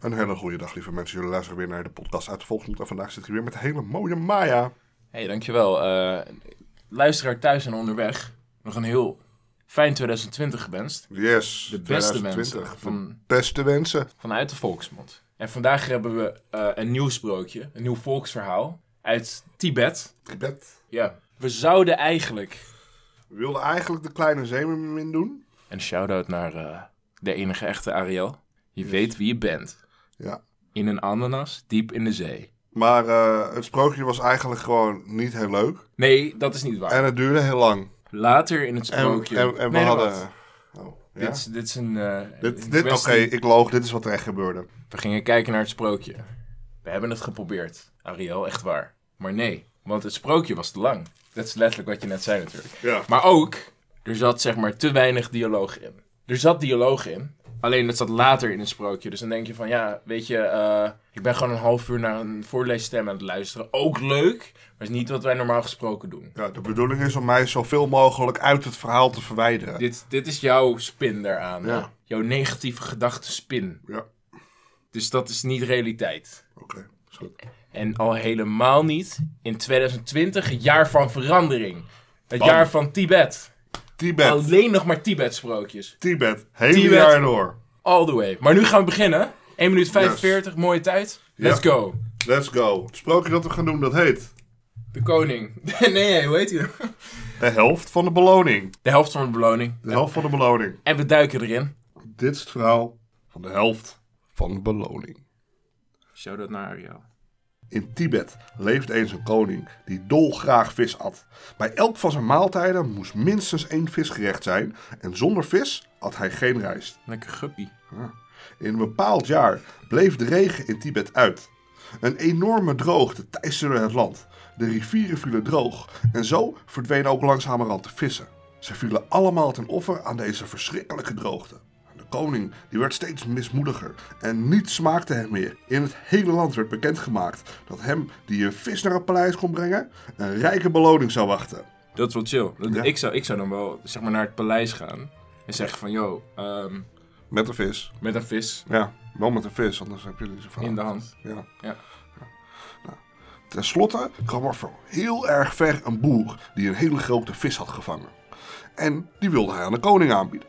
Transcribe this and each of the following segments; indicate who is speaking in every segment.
Speaker 1: Een hele goede dag, lieve mensen. Jullie luisteren weer naar de podcast uit de Volksmond. En vandaag zit hier weer met de hele mooie Maya.
Speaker 2: Hey, dankjewel. Eh, luisteraar thuis en onderweg, nog een heel fijn 2020 gewenst.
Speaker 1: Yes.
Speaker 2: De beste
Speaker 1: 2020.
Speaker 2: mensen van,
Speaker 1: Beste wensen.
Speaker 2: vanuit de Volksmond. En vandaag hebben we eh, een nieuw sprookje, een nieuw volksverhaal uit Tibet.
Speaker 1: Tibet.
Speaker 2: Ja, we zouden eigenlijk...
Speaker 1: We wilden eigenlijk de kleine zeemermin doen.
Speaker 2: Een shout-out naar eh, de enige echte Ariel. Je weet wie je bent.
Speaker 1: Ja.
Speaker 2: In een ananas, diep in de zee.
Speaker 1: Maar eh, het sprookje was eigenlijk gewoon niet heel leuk.
Speaker 2: Nee, dat is niet waar.
Speaker 1: En het duurde heel lang.
Speaker 2: Later in het
Speaker 1: En,
Speaker 2: sprookje...
Speaker 1: en, en we
Speaker 2: Nee, nee,
Speaker 1: hadden...
Speaker 2: wacht.
Speaker 1: Oh, ja?
Speaker 2: Dit, is- dit is een... eh, een
Speaker 1: Dit, dit Oké,
Speaker 2: kwestie-
Speaker 1: ik loog. Dit is wat er echt gebeurde.
Speaker 2: We gingen kijken naar het sprookje. We hebben het geprobeerd, Ariel, echt waar. Maar nee, want het sprookje was te lang. Dat is letterlijk wat je net zei natuurlijk.
Speaker 1: Ja.
Speaker 2: Maar ook, er zat zeg maar te weinig dialoog in. Er zat dialoog in, alleen dat zat later in het sprookje. Dus dan denk je van, ja, weet je, eh, ik ben gewoon een half uur naar een voorleesstem aan het luisteren. Ook leuk, maar is niet wat wij normaal gesproken doen.
Speaker 1: Ja, de bedoeling is om mij zoveel mogelijk uit het verhaal te verwijderen.
Speaker 2: Dit, dit is jouw spin daaraan.
Speaker 1: Ja.
Speaker 2: hè? Jouw negatieve gedachtenspin.
Speaker 1: Ja, oké.
Speaker 2: Dus dat is niet realiteit.
Speaker 1: is goed.
Speaker 2: En al helemaal niet in 2020, het jaar van verandering. Het
Speaker 1: Bam.
Speaker 2: jaar van Tibet.
Speaker 1: Tibet.
Speaker 2: Alleen nog maar Tibet-sprookjes.
Speaker 1: Tibet. Hele
Speaker 2: Tibet.
Speaker 1: jaar door.
Speaker 2: All the way. Maar nu gaan we beginnen. 1 minuut 45, mooie tijd. Let's go.
Speaker 1: Let's go. Het sprookje dat we gaan doen, dat heet...
Speaker 2: De koning. nee, hoe heet hij nou?
Speaker 1: De helft van de beloning.
Speaker 2: De helft van de beloning.
Speaker 1: De helft van de beloning.
Speaker 2: En we duiken erin.
Speaker 1: Dit is het verhaal van de helft van de beloning.
Speaker 2: Shout out naar Ariel.
Speaker 1: In Tibet leefde eens een koning die dolgraag vis at. Bij elk van zijn maaltijden moest minstens één visgerecht zijn en zonder vis at hij geen rijst.
Speaker 2: Lekker guppie.
Speaker 1: In een bepaald jaar bleef de regen in Tibet uit. Een enorme droogte teisterde het land. De rivieren vielen droog en zo verdwenen ook langzamerhand de vissen. Ze vielen allemaal ten offer aan deze verschrikkelijke droogte. De koning die werd steeds mismoediger en niets smaakte hem meer. In het hele land werd bekendgemaakt dat hem die een vis naar het paleis kon brengen, een rijke beloning zou wachten.
Speaker 2: Dat is wel chill. Dat-
Speaker 1: Ja.
Speaker 2: ik, zou, ik zou dan wel zeg maar, naar het paleis gaan. En zeggen van, yo, ehm,
Speaker 1: Met een vis.
Speaker 2: met een vis
Speaker 1: Ja, wel met een vis, anders heb je niet zoveel.
Speaker 2: in de hand.
Speaker 1: Ja.
Speaker 2: Ja.
Speaker 1: Nou, Ten slotte kwam er van heel erg ver een boer die een hele grote vis had gevangen. En die wilde hij aan de koning aanbieden.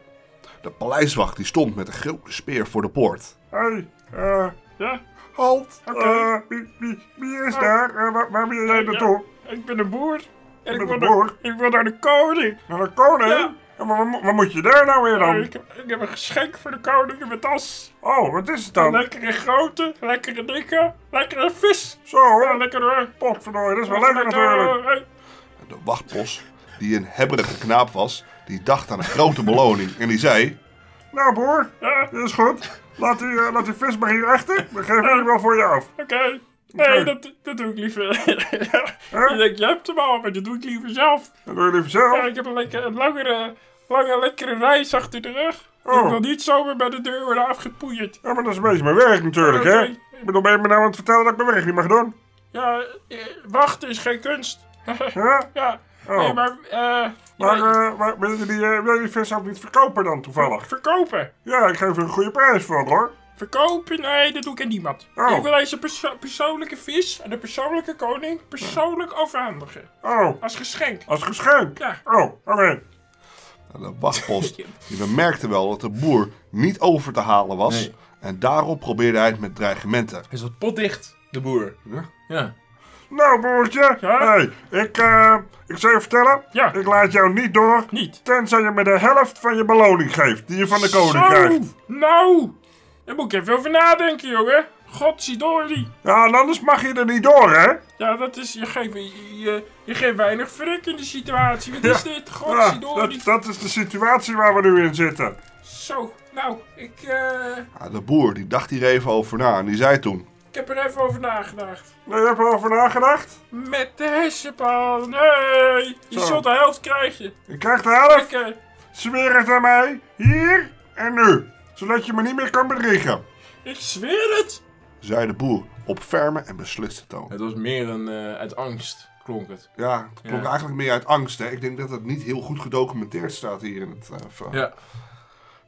Speaker 1: De paleiswacht die stond met een grote speer voor de poort.
Speaker 3: Hey, eh,
Speaker 4: Ja,
Speaker 1: Halt!
Speaker 3: Oké.
Speaker 1: eh, wie, wie, wie is daar? Eh, waar, waar wil jij naartoe?
Speaker 4: ik ben een boer. En
Speaker 1: bent
Speaker 4: ik wil,
Speaker 1: een
Speaker 4: naar-
Speaker 1: boer?
Speaker 4: ik wil naar de koning.
Speaker 3: naar de koning?
Speaker 4: Ja.
Speaker 3: Ja, maar wat, mo- wat moet je daar nou
Speaker 4: Oh,
Speaker 3: weer dan?
Speaker 4: ik, heb, ik heb een geschenk voor de koning in mijn tas.
Speaker 3: Oh, wat is het
Speaker 4: Een
Speaker 3: dan?
Speaker 4: lekkere grote, lekkere dikke, lekkere vis.
Speaker 3: Zo,
Speaker 4: Ja, lekker eh, hoor.
Speaker 3: potverdorie, dat is wel lekker natuurlijk.
Speaker 4: Hey,
Speaker 1: De wachtbos, die een hebberige knaap was, die dacht aan een grote beloning. En die zei...
Speaker 3: Nou boer,
Speaker 4: Ja,
Speaker 3: dat is goed. Laat die, eh, laat die vis maar hier achter, dan geef ik hem wel voor je af.
Speaker 4: oké. Nee, dat, dat doe ik liever. je denkt, je hebt hem al, maar dat doe ik liever zelf.
Speaker 3: Dat doe je liever
Speaker 4: Ja,
Speaker 3: zelf.
Speaker 4: ik heb een, lekker, een langere, lange, lekkere reis achter de rug. Ik
Speaker 3: Oh.
Speaker 4: wil niet zomaar bij de deur worden afgepoeierd.
Speaker 3: Ja, maar dat is een beetje mijn werk natuurlijk, hè. Ik bedoel, ben je me nou aan het vertellen dat ik mijn werk niet mag doen?
Speaker 4: Ja, eh, wachten is geen kunst.
Speaker 3: Ja?
Speaker 4: Ja,
Speaker 3: Oh.
Speaker 4: nee, maar, eh,
Speaker 3: Maar,
Speaker 4: ja,
Speaker 3: eh, maar wil, je die, eh, wil je die vis ook niet verkopen dan toevallig?
Speaker 4: verkopen. eh,
Speaker 3: Ja, ik geef er een goede prijs voor hoor.
Speaker 4: Verkopen? Nee, dat doe ik aan niemand.
Speaker 3: Oh.
Speaker 4: Ik wil deze perso- persoonlijke vis aan de persoonlijke koning persoonlijk overhandigen.
Speaker 3: Oh,
Speaker 4: Als geschenk.
Speaker 3: als geschenk?
Speaker 4: Ja.
Speaker 3: Oh, oké.
Speaker 1: "Nou, De wachtpost die bemerkte wel dat de boer niet over te halen was.
Speaker 2: Nee.
Speaker 1: En daarop probeerde hij het met dreigementen.
Speaker 2: Hij is wat potdicht, de boer.
Speaker 1: Ja.
Speaker 2: Ja.
Speaker 3: Nou, broertje.
Speaker 4: Ja?
Speaker 3: Hey, ik, eh, ik zal je vertellen.
Speaker 4: Ja.
Speaker 3: Ik laat jou niet door.
Speaker 4: Niet.
Speaker 3: Tenzij je me de helft van je beloning geeft. Die je van de koning
Speaker 4: Zo,
Speaker 3: krijgt.
Speaker 4: Nou, daar moet ik even over nadenken, jongen. Godzidori.
Speaker 3: Ja, en anders mag je er niet door, hè?
Speaker 4: Ja, dat is, je geeft, je, je, je geeft weinig frik in de situatie. Wat is dit?
Speaker 3: Ja,
Speaker 4: Godzidori.
Speaker 3: dat, dat is de situatie waar we nu in zitten.
Speaker 4: Zo, nou, ik, eh,
Speaker 1: Ja, de boer die dacht hier even over na en die zei toen...
Speaker 4: ik heb er even over nagedacht.
Speaker 3: Nou, je hebt erover nagedacht?
Speaker 4: Met de hersenpan, nee! Je
Speaker 3: Zo.
Speaker 4: zult de helft krijgen. eh,
Speaker 3: Ik krijg de helft.
Speaker 4: Lekker.
Speaker 3: Zweer het aan mij. Hier en nu. Zodat je me niet meer kan bedriegen.
Speaker 4: Ik zweer het.
Speaker 1: zei de boer op ferme en besliste toon.
Speaker 2: Het was meer een, eh, uit angst klonk het.
Speaker 1: Ja, het klonk
Speaker 2: Ja.
Speaker 1: eigenlijk meer uit angst. Hè? Ik denk dat het niet heel goed gedocumenteerd staat hier in het eh, verhaal.
Speaker 2: Ja.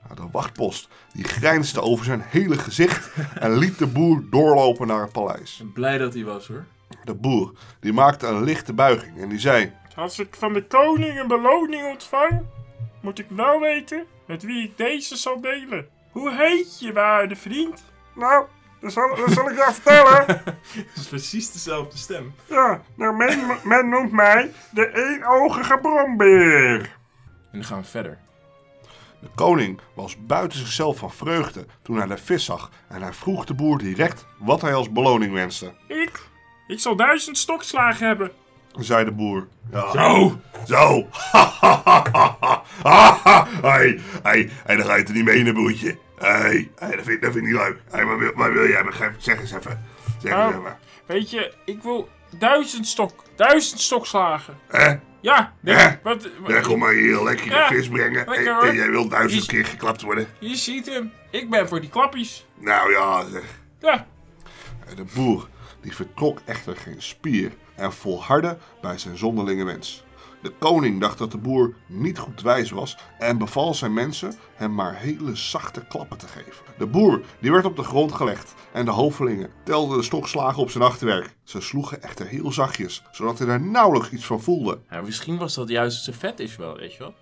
Speaker 1: Maar de wachtpost die grijnsde over zijn hele gezicht en liet de boer doorlopen naar het paleis.
Speaker 2: Blij dat hij was hoor.
Speaker 1: De boer die maakte een lichte buiging en die zei:
Speaker 4: Als ik van de koning een beloning ontvang, moet ik wel weten met wie ik deze zal delen. Hoe heet je, waarde vriend?
Speaker 3: Nou, dat zal, dat zal ik jou vertellen.
Speaker 2: Het is precies dezelfde stem.
Speaker 3: Ja, nou, men, men noemt mij de eenogige brombeer.
Speaker 2: En dan gaan we verder.
Speaker 1: De koning was buiten zichzelf van vreugde toen hij de vis zag en hij vroeg de boer direct wat hij als beloning wenste.
Speaker 4: Ik? Ik zal duizend stokslagen hebben. Oh,
Speaker 1: Zei de boer: ja.
Speaker 3: Zo,
Speaker 1: Zo! Ha ha ha ha ha! Ha ha! Hé, hé, hé, dan ga je er niet mee in, hè, broertje. Hé, hé, dat vind ik dat vind ik niet leuk. Hé, wat, wil, wat wil jij? Begrijp, zeg eens even. Zeg eens
Speaker 4: Oh.
Speaker 1: even.
Speaker 4: Weet je, ik wil duizend stok. Duizend stokslagen.
Speaker 1: Hè?
Speaker 4: Ja,
Speaker 1: Hè?
Speaker 4: wat,
Speaker 1: Ja,
Speaker 4: wat-
Speaker 1: kom maar hier, lekkere
Speaker 4: Ja,
Speaker 1: vis brengen.
Speaker 4: lekker,
Speaker 1: En-
Speaker 4: hoor.
Speaker 1: en jij wilt duizend
Speaker 4: Is-
Speaker 1: keer geklapt worden.
Speaker 4: je ziet hem. Ik ben voor die klappies.
Speaker 1: Nou ja, zeg.
Speaker 4: Ja,
Speaker 1: De boer die vertrok echter geen spier en volhardde bij zijn zonderlinge wens. De koning dacht dat de boer niet goed wijs was en beval zijn mensen hem maar hele zachte klappen te geven. De boer die werd op de grond gelegd en de hovelingen telden de stokslagen op zijn achterwerk. Ze sloegen echter heel zachtjes, zodat hij daar nauwelijks iets van voelde.
Speaker 2: Ja, Nou, misschien was dat juist zijn vet is wel, weet je wel.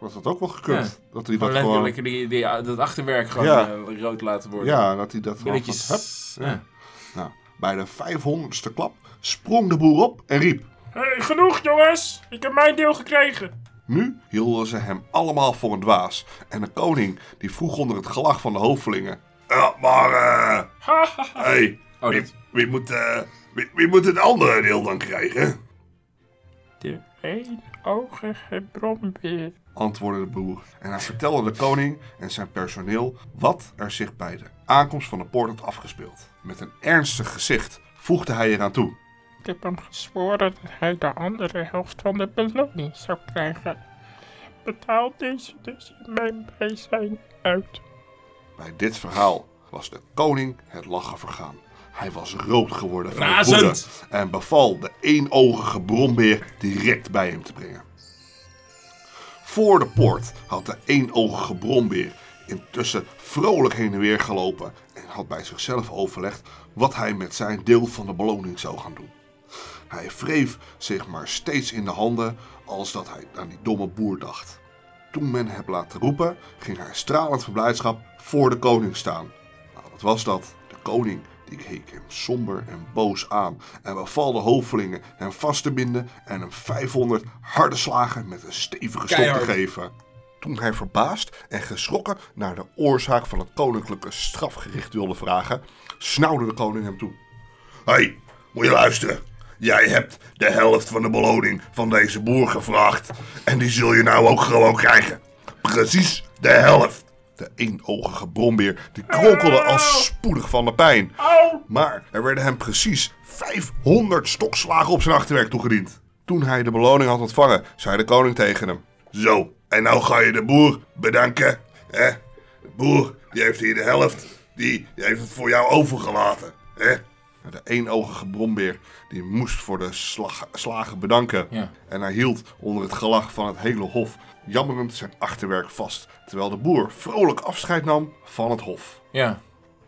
Speaker 1: Was dat ook wel gekund? Dat hij dat
Speaker 2: Gewoon lekker,
Speaker 1: gewoon...
Speaker 2: lekker die, die, eh, dat achterwerk gewoon
Speaker 1: Ja.
Speaker 2: eh, rood laten worden.
Speaker 1: Ja, dat hij dat gewoon...
Speaker 2: Billetjes.
Speaker 1: van- hup.
Speaker 2: Ja. Oh,
Speaker 1: Nou, bij de 500ste klap sprong de boer op en riep...
Speaker 4: Hey, genoeg jongens. Ik heb mijn deel gekregen.
Speaker 1: Nu hielden ze hem allemaal voor een dwaas. En de koning die vroeg onder het gelach van de hovelingen. Ja, maar eh,
Speaker 4: Ha, ha, ha.
Speaker 1: hey,
Speaker 2: Oh,
Speaker 1: wie,
Speaker 2: dat-
Speaker 1: wie moet, eh, wie, wie moet het andere deel dan krijgen?
Speaker 4: De eenogige brombeer.
Speaker 1: Antwoordde de boer. En hij vertelde de koning en zijn personeel wat er zich bij de aankomst van de poort had afgespeeld. Met een ernstig gezicht voegde hij eraan toe.
Speaker 4: Ik heb hem gezworen dat hij de andere helft van de beloning zou krijgen. Betaal deze dus in mijn bijzijn uit.
Speaker 1: Bij dit verhaal was de koning het lachen vergaan. Hij was rood geworden van
Speaker 2: Razend.
Speaker 1: woede en beval de eenogige brombeer direct bij hem te brengen. Voor de poort had de eenogige brombeer intussen vrolijk heen en weer gelopen en had bij zichzelf overlegd wat hij met zijn deel van de beloning zou gaan doen. Hij wreef zich maar steeds in de handen als dat hij aan die domme boer dacht. Toen men hem laat roepen, ging hij stralend van blijdschap voor de koning staan. Nou, wat was dat? De koning die keek hem somber en boos aan en beval de hovelingen hem vast te binden en hem 500 harde slagen met een stevige stok te
Speaker 2: Keihard.
Speaker 1: geven. Toen hij verbaasd en geschrokken naar de oorzaak van het koninklijke strafgericht wilde vragen, snauwde de koning hem toe.
Speaker 3: Hé, hey, moet je luisteren. Jij hebt de helft van de beloning van deze boer gevraagd. En die zul je nou ook gewoon krijgen. Precies de helft.
Speaker 1: De eenogige brombeer die kronkelde al spoedig van de pijn.
Speaker 4: Oh!
Speaker 1: Maar er werden hem precies 500 stokslagen op zijn achterwerk toegediend. Toen hij de beloning had ontvangen, zei de koning tegen hem.
Speaker 3: Zo, en nou ga je de boer bedanken. Hè? De boer, die heeft hier de helft. Die, die heeft het voor jou overgelaten. Hè?
Speaker 1: En De eenogige brombeer die moest voor de slag- slagen bedanken.
Speaker 2: Ja.
Speaker 1: En hij hield onder het gelach van het hele hof jammerend zijn achterwerk vast. Terwijl de boer vrolijk afscheid nam van het hof.
Speaker 2: ja.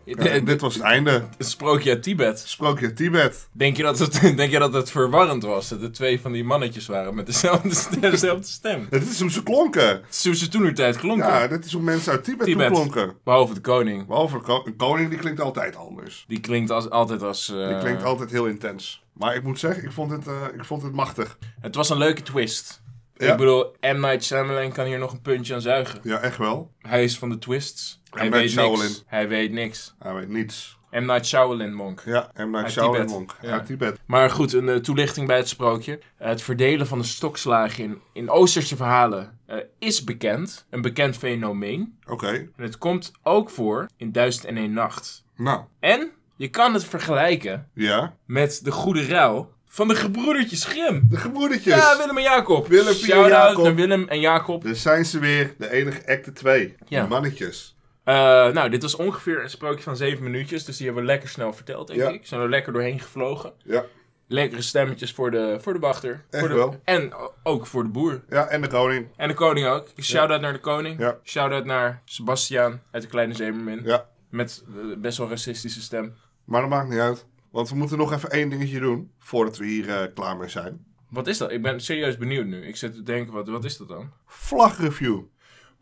Speaker 1: Ja, en dit was het einde.
Speaker 2: Een sprookje uit Tibet.
Speaker 1: Sprookje Tibet.
Speaker 2: Denk je, dat het, denk je dat het verwarrend was dat er twee van die mannetjes waren met dezelfde, st- dezelfde stem?
Speaker 1: Het is hem ze klonken.
Speaker 2: Zo ze toen tijd klonken.
Speaker 1: Ja, dit is hoe mensen uit Tibet,
Speaker 2: Tibet.
Speaker 1: toeklonken.
Speaker 2: Behalve de koning.
Speaker 1: Behalve een ko- een koning, die klinkt altijd anders.
Speaker 2: Die klinkt als, altijd als... eh,
Speaker 1: Die klinkt altijd heel intens. Maar ik moet zeggen, ik vond het, eh, ik vond het machtig.
Speaker 2: Het was een leuke twist.
Speaker 1: Ja.
Speaker 2: Ik bedoel, M. Night Shyamalan kan hier nog een puntje aan zuigen.
Speaker 1: Ja, echt wel.
Speaker 2: Hij is van de twists. Hij
Speaker 1: Night
Speaker 2: weet
Speaker 1: Shyamalan.
Speaker 2: niks. Hij weet niks.
Speaker 1: Hij weet niets.
Speaker 2: M. Night Shyamalan, monk.
Speaker 1: Ja, M. Night
Speaker 2: Uit
Speaker 1: Shyamalan
Speaker 2: Tibet.
Speaker 1: Monk.
Speaker 2: Ja.
Speaker 1: Uit Tibet.
Speaker 2: Maar goed, een eh, toelichting bij het sprookje. Het verdelen van de stokslagen in, in Oosterse verhalen eh, is bekend. Een bekend fenomeen.
Speaker 1: Oké,
Speaker 2: En het komt ook voor in Duizend en één Nacht.
Speaker 1: nou.
Speaker 2: En je kan het vergelijken
Speaker 1: Ja.
Speaker 2: met de goede ruil van de gebroedertjes Grimm.
Speaker 1: De gebroedertjes.
Speaker 2: Ja, Willem en Jacob.
Speaker 1: Dus Willem en
Speaker 2: Shout-out
Speaker 1: Jacob.
Speaker 2: naar Willem en Jacob.
Speaker 1: Daar zijn ze weer. De enige acte 2.
Speaker 2: Ja.
Speaker 1: Die mannetjes.
Speaker 2: Eh, nou, dit was ongeveer een sprookje van zeven minuutjes. Dus die hebben we lekker snel verteld, denk
Speaker 1: Ja.
Speaker 2: ik. Zijn er lekker doorheen gevlogen.
Speaker 1: Ja.
Speaker 2: Lekkere stemmetjes voor de, voor de wachter. voor de,
Speaker 1: wel.
Speaker 2: En o- ook voor de boer.
Speaker 1: Ja, en de koning.
Speaker 2: En de koning ook. Dus Shout-out naar de koning.
Speaker 1: Ja.
Speaker 2: Shout-out naar Sebastiaan uit de Kleine Zemermin.
Speaker 1: Ja,
Speaker 2: Met eh, best wel racistische stem.
Speaker 1: maar dat maakt niet uit. Want we moeten nog even één dingetje doen voordat we hier eh, klaar mee zijn.
Speaker 2: Wat is dat? Ik ben serieus benieuwd nu. Ik zit te denken, wat, wat is dat dan?
Speaker 1: Vlagreview.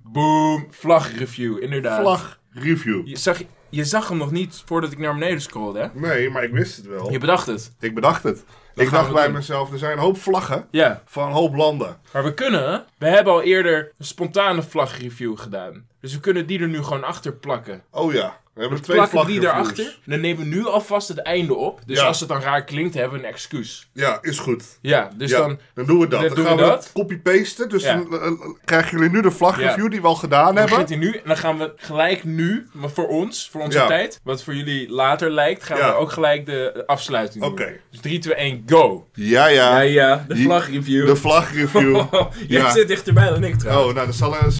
Speaker 2: Boom! Vlagreview, inderdaad.
Speaker 1: Vlagreview.
Speaker 2: Je zag, je zag hem nog niet voordat ik naar beneden scrollde, hè?
Speaker 1: Nee, maar ik wist het wel.
Speaker 2: Je bedacht het.
Speaker 1: Ik bedacht het. Ik
Speaker 2: gaan we
Speaker 1: dacht bij
Speaker 2: doen.
Speaker 1: mezelf, er zijn een hoop vlaggen
Speaker 2: Ja.
Speaker 1: van een hoop landen.
Speaker 2: Maar we kunnen, we hebben al eerder een spontane vlagreview gedaan. Dus we kunnen die er nu gewoon achter plakken.
Speaker 1: Oh ja, we hebben twee
Speaker 2: plakken die
Speaker 1: vlagreviews.
Speaker 2: erachter. Dan nemen we nu alvast het einde op. Dus
Speaker 1: Ja.
Speaker 2: als het dan raar klinkt, hebben we een excuus.
Speaker 1: Ja, is goed.
Speaker 2: Ja, dus
Speaker 1: Ja, dan,
Speaker 2: dan
Speaker 1: doen we dat.
Speaker 2: dan
Speaker 1: Dan,
Speaker 2: doen
Speaker 1: gaan
Speaker 2: we
Speaker 1: we,
Speaker 2: dat.
Speaker 1: copy-pasten. Dus
Speaker 2: Ja.
Speaker 1: dan eh, eh, krijgen jullie nu de vlagreview
Speaker 2: Ja.
Speaker 1: die we al gedaan hebben.
Speaker 2: begint hij nu. En dan gaan we gelijk nu, maar voor ons, voor onze
Speaker 1: Ja.
Speaker 2: tijd, wat voor jullie later lijkt, gaan
Speaker 1: Ja.
Speaker 2: we ook gelijk de afsluiting doen.
Speaker 1: Oké.
Speaker 2: Dus 3, 2, 1, go!
Speaker 1: Ja, ja.
Speaker 2: Ja, ja, de
Speaker 1: die-
Speaker 2: vlagreview.
Speaker 1: De vlagreview.
Speaker 2: Oh, jij
Speaker 1: Ja.
Speaker 2: zit dichterbij dan ik trouwens.
Speaker 1: oh, nou, dan zal er eens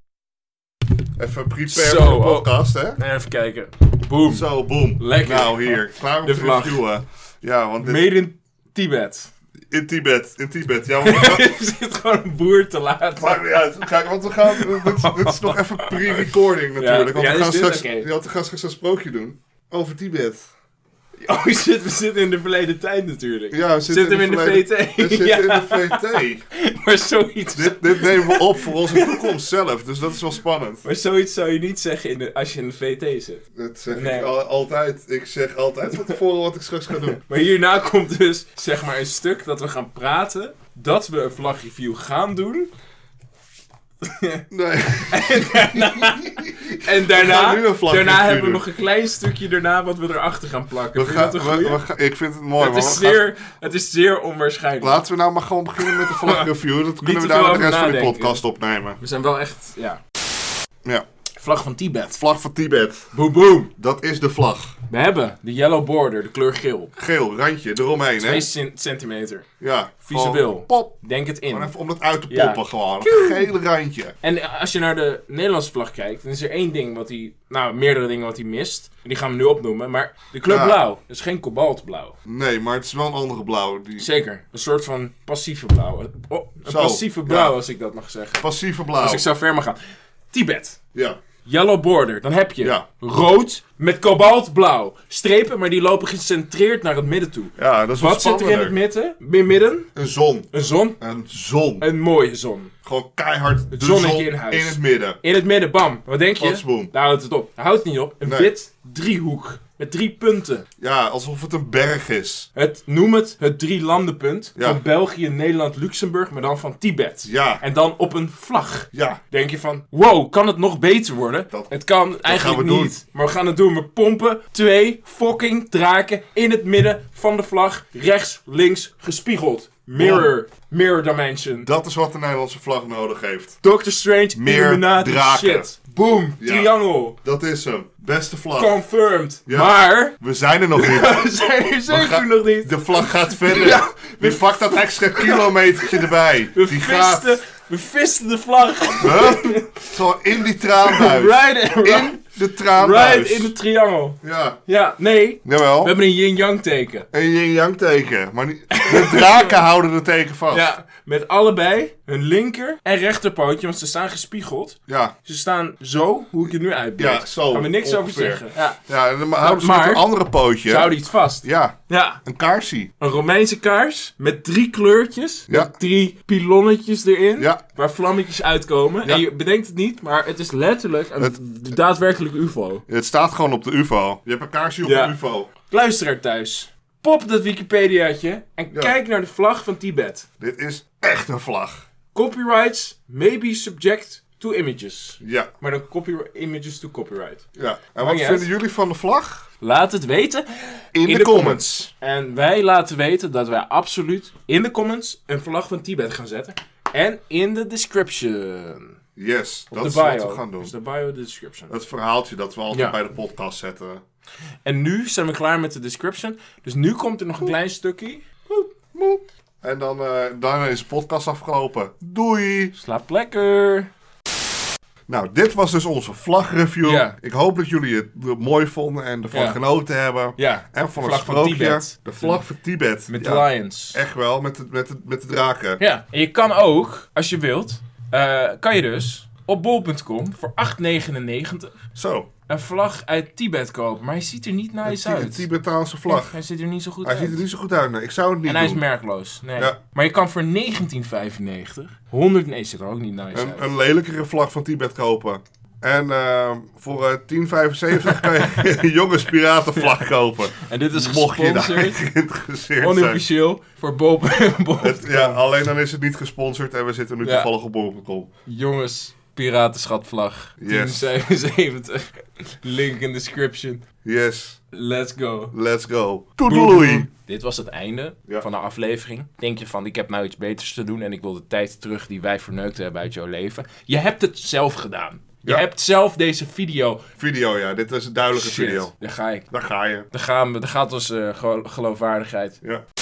Speaker 1: even prepare
Speaker 2: Zo,
Speaker 1: voor de
Speaker 2: oh.
Speaker 1: podcast, hè?
Speaker 2: Nee, Even kijken. Boom.
Speaker 1: Zo, boom.
Speaker 2: Lekker.
Speaker 1: Nou, hier. Klaar om
Speaker 2: De
Speaker 1: te
Speaker 2: vlag.
Speaker 1: reviewen. Ja, want dit-
Speaker 2: Made in Tibet.
Speaker 1: in Tibet. In Tibet. Ja, want
Speaker 2: Er zit gewoon een boer te laat.
Speaker 1: Maakt niet uit. Kijk, want we gaan. Dit, dit is nog even pre-recording natuurlijk. want
Speaker 2: Ja,
Speaker 1: we
Speaker 2: is
Speaker 1: gaan
Speaker 2: dit?
Speaker 1: straks,
Speaker 2: Oké.
Speaker 1: je had- we gaan straks een sprookje doen. Over Tibet.
Speaker 2: Oh shit, we zitten in de verleden tijd natuurlijk.
Speaker 1: Ja, we
Speaker 2: Zit hem in de
Speaker 1: verleden-
Speaker 2: VT.
Speaker 1: We zitten
Speaker 2: Ja.
Speaker 1: in de VT.
Speaker 2: Maar, zoiets,
Speaker 1: Dit, dit nemen we op voor onze toekomst zelf, dus dat is wel spannend.
Speaker 2: maar zoiets zou je niet zeggen in de, als je in de VT zit.
Speaker 1: Dat zeg ik
Speaker 2: Nee.
Speaker 1: al- altijd. Ik zeg altijd van tevoren wat ik straks ga doen.
Speaker 2: Maar hierna komt dus zeg maar een stuk dat we gaan praten. Dat we een vlagreview gaan doen.
Speaker 1: Nee.
Speaker 2: En
Speaker 1: gaan
Speaker 2: daarna,
Speaker 1: nu een vlagreview
Speaker 2: daarna hebben we
Speaker 1: doen.
Speaker 2: nog een klein stukje daarna wat we erachter gaan plakken.
Speaker 1: We
Speaker 2: Vind je
Speaker 1: gaan,
Speaker 2: dat een goeie?
Speaker 1: we, we gaan- ik vind het mooi,
Speaker 2: het,
Speaker 1: maar
Speaker 2: is
Speaker 1: we gaan-
Speaker 2: zeer, het is zeer onwaarschijnlijk.
Speaker 1: Laten we nou maar gewoon beginnen met de vlagreview. Dat kunnen we
Speaker 2: te
Speaker 1: daarna
Speaker 2: veel
Speaker 1: de rest
Speaker 2: over
Speaker 1: van de
Speaker 2: nadenken.
Speaker 1: podcast opnemen.
Speaker 2: We zijn wel echt, ja.
Speaker 1: Ja.
Speaker 2: Vlag van Tibet.
Speaker 1: Vlag van Tibet.
Speaker 2: Boom boom.
Speaker 1: Dat is de vlag.
Speaker 2: We hebben de yellow border, de kleur geel.
Speaker 1: Geel, randje, eromheen, hè?
Speaker 2: 2 centimeter.
Speaker 1: Ja.
Speaker 2: Visueel.
Speaker 1: gewoon Pop.
Speaker 2: Denk het in.
Speaker 1: Gewoon even om dat uit te
Speaker 2: Ja.
Speaker 1: poppen gewoon. Een gele randje.
Speaker 2: En eh, als je naar de Nederlandse vlag kijkt, dan is er één ding wat hij. Nou, meerdere dingen wat hij mist. En die gaan we nu opnoemen. Maar de kleur
Speaker 1: Ja.
Speaker 2: blauw. Dat is geen kobaltblauw.
Speaker 1: Nee, maar het is wel een andere blauw. Die
Speaker 2: Zeker. Een soort van passieve blauw. Een- oh, een
Speaker 1: Zo,
Speaker 2: passieve blauw,
Speaker 1: ja.
Speaker 2: als ik dat mag zeggen.
Speaker 1: passieve blauw.
Speaker 2: Als Dus ik zo ver mag gaan. Tibet.
Speaker 1: Ja.
Speaker 2: Yellow border. Dan heb je
Speaker 1: Ja.
Speaker 2: rood met kobaltblauw. Strepen, maar die lopen gecentreerd naar het midden toe.
Speaker 1: ja, dat is
Speaker 2: Wat zit er in het midden? Mi- midden?
Speaker 1: Een zon.
Speaker 2: Een zon.
Speaker 1: Een zon.
Speaker 2: Een mooie zon.
Speaker 1: Gewoon keihard de
Speaker 2: zonnetje
Speaker 1: zon
Speaker 2: in huis.
Speaker 1: in het midden.
Speaker 2: In het midden, bam. Wat denk je?
Speaker 1: Plotsboom.
Speaker 2: Daar houdt het op. Daar houdt het niet op. Een
Speaker 1: Nee.
Speaker 2: wit driehoek. Met drie punten.
Speaker 1: Ja, alsof het een berg is.
Speaker 2: Het, noem het het drie landenpunt.
Speaker 1: Ja.
Speaker 2: Van België, Nederland, Luxemburg, maar dan van Tibet.
Speaker 1: Ja.
Speaker 2: En dan op een vlag.
Speaker 1: Ja.
Speaker 2: Denk je van, wow, kan het nog beter worden?
Speaker 1: Dat-
Speaker 2: het kan eigenlijk
Speaker 1: gaan we doen.
Speaker 2: niet. Maar we gaan het doen. We pompen twee fucking draken in het midden van de vlag. Rechts, links, gespiegeld. Mirror. Mirror dimension.
Speaker 1: Dat is wat de Nederlandse vlag nodig heeft.
Speaker 2: Doctor Strange,
Speaker 1: Meer
Speaker 2: Illuminati
Speaker 1: draken.
Speaker 2: shit. Boom,
Speaker 1: Ja.
Speaker 2: triangel.
Speaker 1: Dat is hem. Beste vlag.
Speaker 2: Confirmed.
Speaker 1: Ja.
Speaker 2: Maar,
Speaker 1: We zijn er nog niet.
Speaker 2: we zijn er zeker
Speaker 1: gaan-
Speaker 2: nog niet.
Speaker 1: De vlag gaat verder.
Speaker 2: Ja.
Speaker 1: Wie pakt dat extra kilometertje erbij?
Speaker 2: We
Speaker 1: Die
Speaker 2: visten,
Speaker 1: gaat
Speaker 2: we visten de vlag.
Speaker 1: huh? gewoon in die traanbuis.
Speaker 2: Right, in,
Speaker 1: In de traanbuis.
Speaker 2: right in de triangel.
Speaker 1: Ja.
Speaker 2: Ja, nee. We
Speaker 1: Jawel.
Speaker 2: hebben een yin-yang teken.
Speaker 1: Een yin-yang teken. Maar niet... de draken houden de teken vast.
Speaker 2: Ja, met allebei hun linker en rechterpootje, want ze staan gespiegeld.
Speaker 1: Ja,
Speaker 2: Ze staan zo, hoe ik het nu uitbeeld.
Speaker 1: Ja, zo,
Speaker 2: Gaan we niks over
Speaker 1: ongeveer.
Speaker 2: zeggen. Ja.
Speaker 1: ja en dan houden ze met
Speaker 2: maar-
Speaker 1: een andere pootje.
Speaker 2: Ze houden iets vast.
Speaker 1: Ja,
Speaker 2: Ja,
Speaker 1: een kaarsie.
Speaker 2: een Romeinse kaars met drie kleurtjes.
Speaker 1: Ja.
Speaker 2: Met drie pilonnetjes erin.
Speaker 1: Ja.
Speaker 2: Waar vlammetjes uitkomen.
Speaker 1: Ja.
Speaker 2: En je bedenkt het niet, maar het is letterlijk een daadwerkelijk UFO.
Speaker 1: Het staat gewoon op de UFO. Je hebt een kaarsie op
Speaker 2: Ja.
Speaker 1: de UFO.
Speaker 2: Luisteraar thuis. Pop dat Wikipediaatje en
Speaker 1: Ja.
Speaker 2: kijk naar de vlag van Tibet.
Speaker 1: Dit is echt een vlag.
Speaker 2: Copyrights may be subject to images.
Speaker 1: Ja,
Speaker 2: Maar dan copyright, images to copyright.
Speaker 1: ja. En wat
Speaker 2: niet
Speaker 1: vinden
Speaker 2: uit.
Speaker 1: jullie van de vlag?
Speaker 2: Laat het weten
Speaker 1: In, de, comments.
Speaker 2: En wij laten weten dat wij absoluut in de comments een vlag van Tibet gaan zetten. En in de description.
Speaker 1: Yes, dat
Speaker 2: de
Speaker 1: is
Speaker 2: bio.
Speaker 1: wat we gaan doen.
Speaker 2: Dus de bio, de description.
Speaker 1: Het verhaaltje dat we altijd
Speaker 2: Ja.
Speaker 1: bij de podcast zetten.
Speaker 2: En nu zijn we klaar met de description. Dus nu komt er nog een klein stukje.
Speaker 1: En dan, eh, daarna is de podcast afgelopen. Doei!
Speaker 2: Slaap lekker.
Speaker 1: Nou, dit was dus onze vlagreview.
Speaker 2: Ja.
Speaker 1: Ik hoop dat jullie het eh, mooi vonden en ervan
Speaker 2: Ja.
Speaker 1: genoten hebben.
Speaker 2: Ja,
Speaker 1: En van het
Speaker 2: Vlag van
Speaker 1: sprookje.
Speaker 2: Tibet.
Speaker 1: de vlag van Tibet.
Speaker 2: met
Speaker 1: Ja,
Speaker 2: de lions.
Speaker 1: Echt wel, met de, met de, met de draken.
Speaker 2: Ja, en je kan ook, als je wilt, eh, kan je dus op bol.com voor 8,99
Speaker 1: Zo,
Speaker 2: een vlag uit Tibet kopen. Maar hij ziet er niet
Speaker 1: een,
Speaker 2: nice
Speaker 1: Ti- een
Speaker 2: uit.
Speaker 1: Tibetaanse vlag.
Speaker 2: Hij ziet er niet zo goed
Speaker 1: Hij
Speaker 2: uit.
Speaker 1: ziet er niet zo goed uit. nee. Ik zou het niet
Speaker 2: en hij is
Speaker 1: doen.
Speaker 2: merkloos. Nee.
Speaker 1: Ja.
Speaker 2: Maar je kan voor 1995, 100... Nee, ziet er ook niet nice uit.
Speaker 1: een, een lelijkere vlag van Tibet kopen. En ehm, voor eh, 10,75 kan je een jongens piratenvlag kopen.
Speaker 2: En dit is
Speaker 1: Mocht je daar
Speaker 2: gesponsord,
Speaker 1: geïnteresseerd zijn.
Speaker 2: onofficieel, voor bol. Bol-
Speaker 1: Het- ja, alleen dan is het niet gesponsord en we zitten nu
Speaker 2: Ja.
Speaker 1: toevallig op Bol.com.
Speaker 2: Jongens, piratenschapvlag.
Speaker 1: Yes.
Speaker 2: 1075. Link in description.
Speaker 1: Yes,
Speaker 2: Let's go.
Speaker 1: let's go. Toedeloei!
Speaker 2: Dit was het einde
Speaker 1: Ja.
Speaker 2: van de aflevering. Denk je van, ik heb nou iets beters te doen en ik wil de tijd terug die wij verneukt hebben uit jouw leven. Je hebt het zelf gedaan. Je
Speaker 1: Ja.
Speaker 2: hebt zelf deze video.
Speaker 1: Video, ja, dit was een duidelijke
Speaker 2: Shit,
Speaker 1: video.
Speaker 2: Daar ga ik.
Speaker 1: Daar ga je.
Speaker 2: Daar, gaan we, daar gaat onze eh, gelo- geloofwaardigheid.
Speaker 1: Ja.